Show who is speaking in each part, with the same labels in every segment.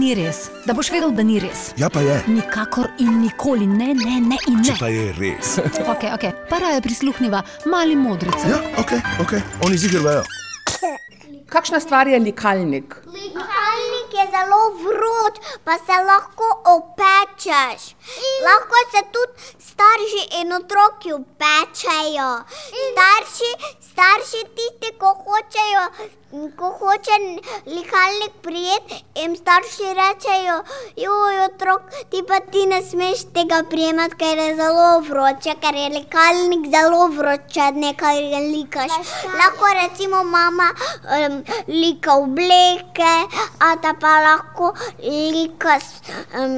Speaker 1: ni res, da boš vedel, da ni res.
Speaker 2: Ja, pa je.
Speaker 1: Nikakor in nikoli ne, ne, ne in
Speaker 2: Če
Speaker 1: ne.
Speaker 2: pa je res.
Speaker 1: Okay, okay. Para je prisluhnila mali modrici.
Speaker 2: Ja, ok, ok, oni zigrajo.
Speaker 3: Kakšna stvar je likalnik?
Speaker 4: Likalnik je zelo vroč, pa se lahko opečeš. Lahko se tudi starši in otroci opečejo. Starši, starši tisti, ko hočejo, ko hoče likalnik prijeti, jim starši rečejo: Joj, otrok, ti pa ti ne smeš tega prijemati, ker je zelo vroče, ker je likalnik zelo vroče, nekaj likaš. Lahko recimo mama um, lika obleke, a ta pa lahko lika um,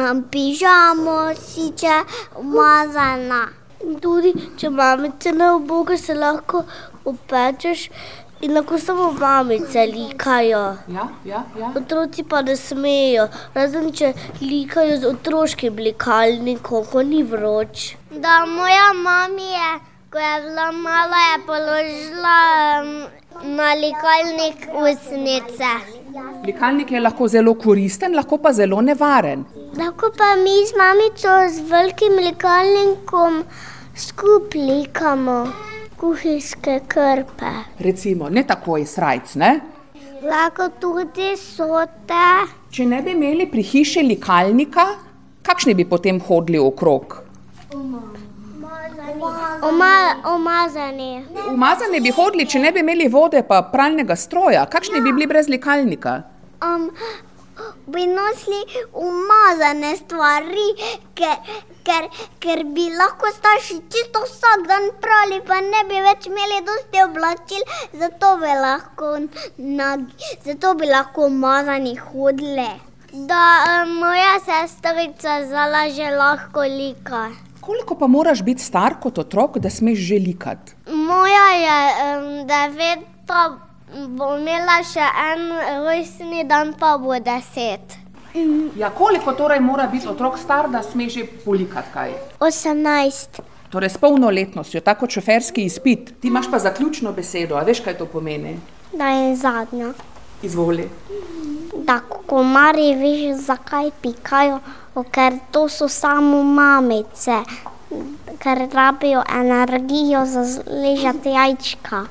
Speaker 4: um, pižamo, si če umazana.
Speaker 5: Tudi če mamice ne oboga, se lahko opečeš in lahko samo mamice likajo.
Speaker 3: Ja, ja, ja.
Speaker 5: Otroci pa ne smejo, razen če likajo z otroškim likalnikom, ko ni vroč.
Speaker 4: Da, moja mama je, ko je bila mala, je položila um, na likalnik usnice.
Speaker 3: Likalnik je lahko zelo koristen, lahko pa zelo nevaren.
Speaker 4: Lahko pa mi z mamico z velikim likalnikom skupaj likamo kuhinjske krpe.
Speaker 3: Recimo, ne tako je srajc. Ne?
Speaker 4: Lahko tudi sote.
Speaker 3: Če ne bi imeli pri hiši likalnika, kakšni bi potem hodili okrog?
Speaker 4: Oma, omazani.
Speaker 3: Umazani bi hodili, če ne bi imeli vode, pa pralnega stroja. Kakšni bi bili brez likalnika?
Speaker 4: Um, bi nosili umazane stvari, ker, ker, ker bi lahko starši čisto vsak dan prali, pa ne bi več imeli dosti oblačil, zato bi lahko, nag, zato bi lahko umazani hodili. Da um, moja sestrica zala že lahko lika.
Speaker 3: Koliko pa moraš biti star kot otrok, da smeš že likati?
Speaker 4: Moja je um, devet, pa bo imela še en rojstni dan, pa bo deset.
Speaker 3: Ja, koliko torej mora biti otrok star, da sme že polikati kaj?
Speaker 4: 18.
Speaker 3: Torej, s polnoletnostjo, tako kot šoferski izpit. Ti imaš pa zaključno besedo, a veš, kaj to pomeni?
Speaker 4: Da je zadnja.
Speaker 3: Izvoli.
Speaker 4: Da komarji veš, zakaj pikajo, ker to so samo mamice, ker rabijo energijo za ležati jajčka.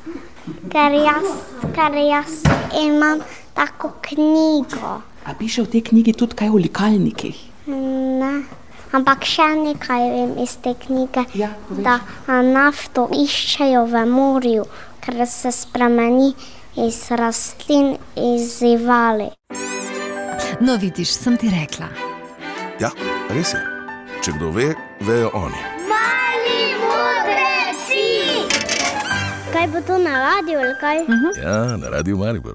Speaker 4: Ker jaz, ker jaz imam tako knjigo.
Speaker 3: A piše v tej knjigi tudi kaj o likalnikih?
Speaker 4: Ne. Ampak še nekaj vem iz te knjige,
Speaker 3: Ja, povej
Speaker 4: da a, nafto iščejo v morju, ker se spremeni iz rastlin, iz živali.
Speaker 1: No, vidiš, sem ti rekla.
Speaker 2: Ja, res je. Če kdo ve, vejo oni.
Speaker 4: Mali modreci! Kaj bo to na radiju ali kaj?
Speaker 2: Ja, na radiju Maribor.